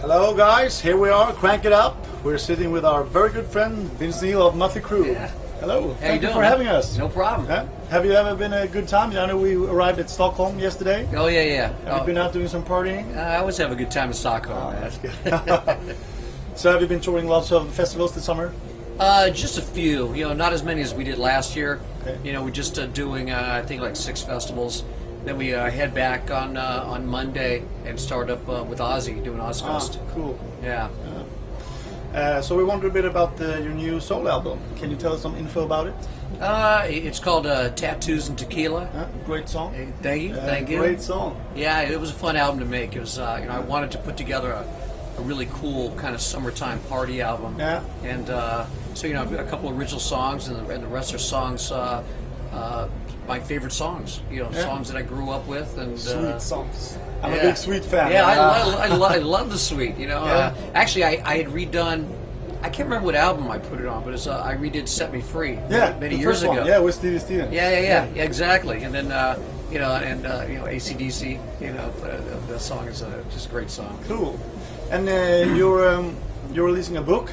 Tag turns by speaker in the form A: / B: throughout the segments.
A: Hello, guys. Here we are. Crank it up. We're sitting with our very good friend Vince Neal of Muffy Crew.
B: Yeah.
A: Hello.
B: How
A: Thank
B: you
A: you,
B: doing?
A: for having us.
B: No problem.
A: Yeah? Have you ever been a good time? I know we arrived at Stockholm yesterday.
B: Oh yeah, yeah.
A: Have
B: Oh,
A: you been Oh, out doing some partying?
B: I always have a good time in Stockholm. man.
A: so, have you been touring lots of festivals this summer?
B: uh, just a few, you know, not as many as we did last year.
A: Okay.
B: You know, we're just uh, doing uh, I think like six festivals. Then we uh, head back on uh, on Monday and start up uh, with Ozzy doing
A: Ah.
B: Ozfest.
A: cool.
B: Yeah.
A: Uh, so, we wonder a bit about the, your new soul album. Can you tell us some info about it?
B: Uh, it- it's called uh, Tattoos and Tequila.
A: Huh? Great song.
B: Hey, Thank you.
A: Uh,
B: Thank you.
A: Great song.
B: Yeah, it was a fun album to make. It was, uh, you know, I wanted to put together a, a really cool kind of summertime party album.
A: Yeah.
B: And uh, so, you know, I've got a couple original songs, and the, and the rest are songs, uh, uh, my favorite songs. You know,
A: Yeah.
B: songs that I grew up with, and uh,
A: Sweet songs. I'm
B: yeah.
A: a big Sweet fan.
B: Yeah, I,
A: Uh,
B: love, I, love, I love the Sweet. You know,
A: Yeah.
B: uh, actually, I, I had redone. I can't remember what album I put it on, but it's, uh, I redid "Set Me Free"
A: Yeah,
B: many
A: the
B: years
A: first
B: ago.
A: one. Yeah, with Stevie Stevens.
B: Yeah, yeah, yeah, yeah, exactly. And then uh, you know, and uh, you know, ACDC. You know, uh, the, the song is uh, just a great song.
A: Cool. And uh, you're um, you're releasing a book.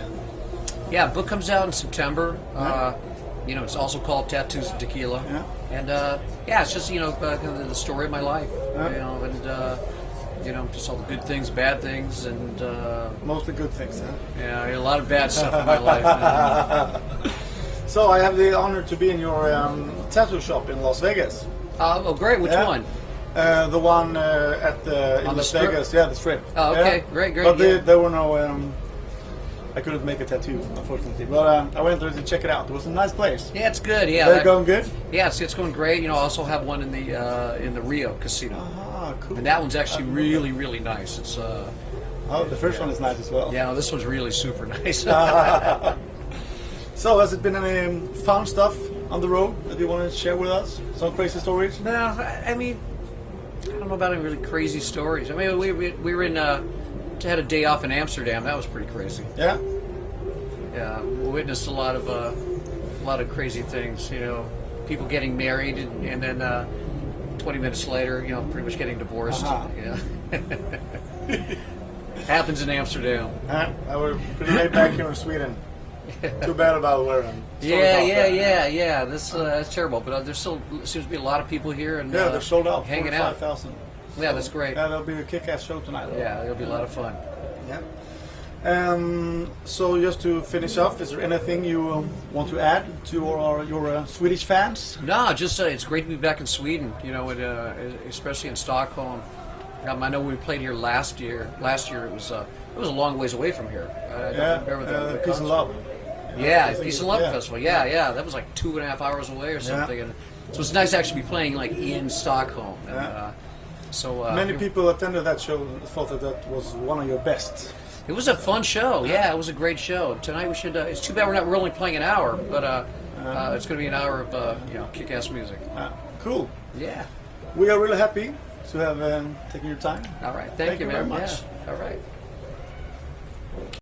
B: Yeah, book comes out in September.
A: Right.
B: Uh, you know, it's also called Tattoos and Tequila.
A: Yeah.
B: And uh, yeah, it's just you know uh, kind of the story of my life.
A: Yeah.
B: You know, and uh, you know, just all the good things, bad things, and uh,
A: Mostly good things. Huh?
B: yeah, a lot of bad stuff in my life. man.
A: So I have the honor to be in your um, tattoo shop in Las Vegas.
B: Uh, oh, great. Which
A: Yeah.
B: one?
A: Uh, the one uh, at the in
B: On the
A: Las
B: strip?
A: Vegas. Yeah, the strip.
B: Oh, okay.
A: Yeah.
B: Great, great,
A: But
B: yeah.
A: there, there were no. Um, I couldn't make a tattoo, unfortunately. But um, I went there to check it out. It was a nice place.
B: Yeah, it's good. Yeah,
A: They're
B: that-
A: going good.
B: yeah, it's, it's going great. You know, I also have one in the uh, in the Rio Casino.
A: Ah, cool.
B: And that one's actually
A: I love
B: really, really nice. It's uh,
A: Oh, the first one is nice as well.
B: yeah, no, this one's really super nice.
A: So, has it been any um, fun stuff on the road that you want to share with us? Some crazy stories?
B: no, I, I mean, I don't know about any really crazy stories. I mean, we we, we were in uh, had a day off in Amsterdam. That was pretty crazy.
A: Yeah.
B: Yeah, we witnessed a lot of uh, a lot of crazy things. You know, people getting married and, and then uh, 20 minutes later, you know, pretty much getting divorced.
A: Uh-huh.
B: Yeah. Happens in Amsterdam.
A: Uh, I was pretty laid back here in Sweden. Too bad about where I'm. Sorry
B: Yeah,
A: about
B: yeah,
A: that.
B: yeah, yeah. This uh, that's terrible, but uh, there still seems to be a lot of people here and
A: Yeah,
B: uh,
A: they're sold out.
B: hanging out.
A: 45,000.
B: Yeah, that's great.
A: Yeah, there'll be a kick ass show tonight. though.
B: Yeah, it'll be a lot of fun.
A: Yeah. Um, so, just to finish off, is there anything you um, want to add to our, your uh, Swedish fans?
B: No, just uh, it's great to be back in Sweden. You know, and, uh, especially in Stockholm. Um, I know we played here last year. Last year it was uh, it was a long ways away from here. I don't remember the-
A: uh,
B: the
A: peace and
B: concert.
A: love.
B: Yeah,
A: Peace and
B: Peace and
A: Love,
B: Love
A: yeah.
B: Festival. Yeah, yeah, that was like two and a half hours away or something. And so it's nice to actually be playing like in Stockholm. And,
A: Yeah.
B: uh, so uh,
A: Many
B: it-
A: people attended that show and thought that that was one of your best.
B: It was a fun show. Yeah, it was a great show. Tonight we should. Uh, it's too bad we're not. We're only playing an hour, but uh, uh, it's going to be an hour of uh, you know kick-ass music.
A: Uh, cool.
B: Yeah.
A: We are really happy to have um, taken your time.
B: All right. Thank,
A: Thank you
B: man.
A: very much.
B: Yeah. All right.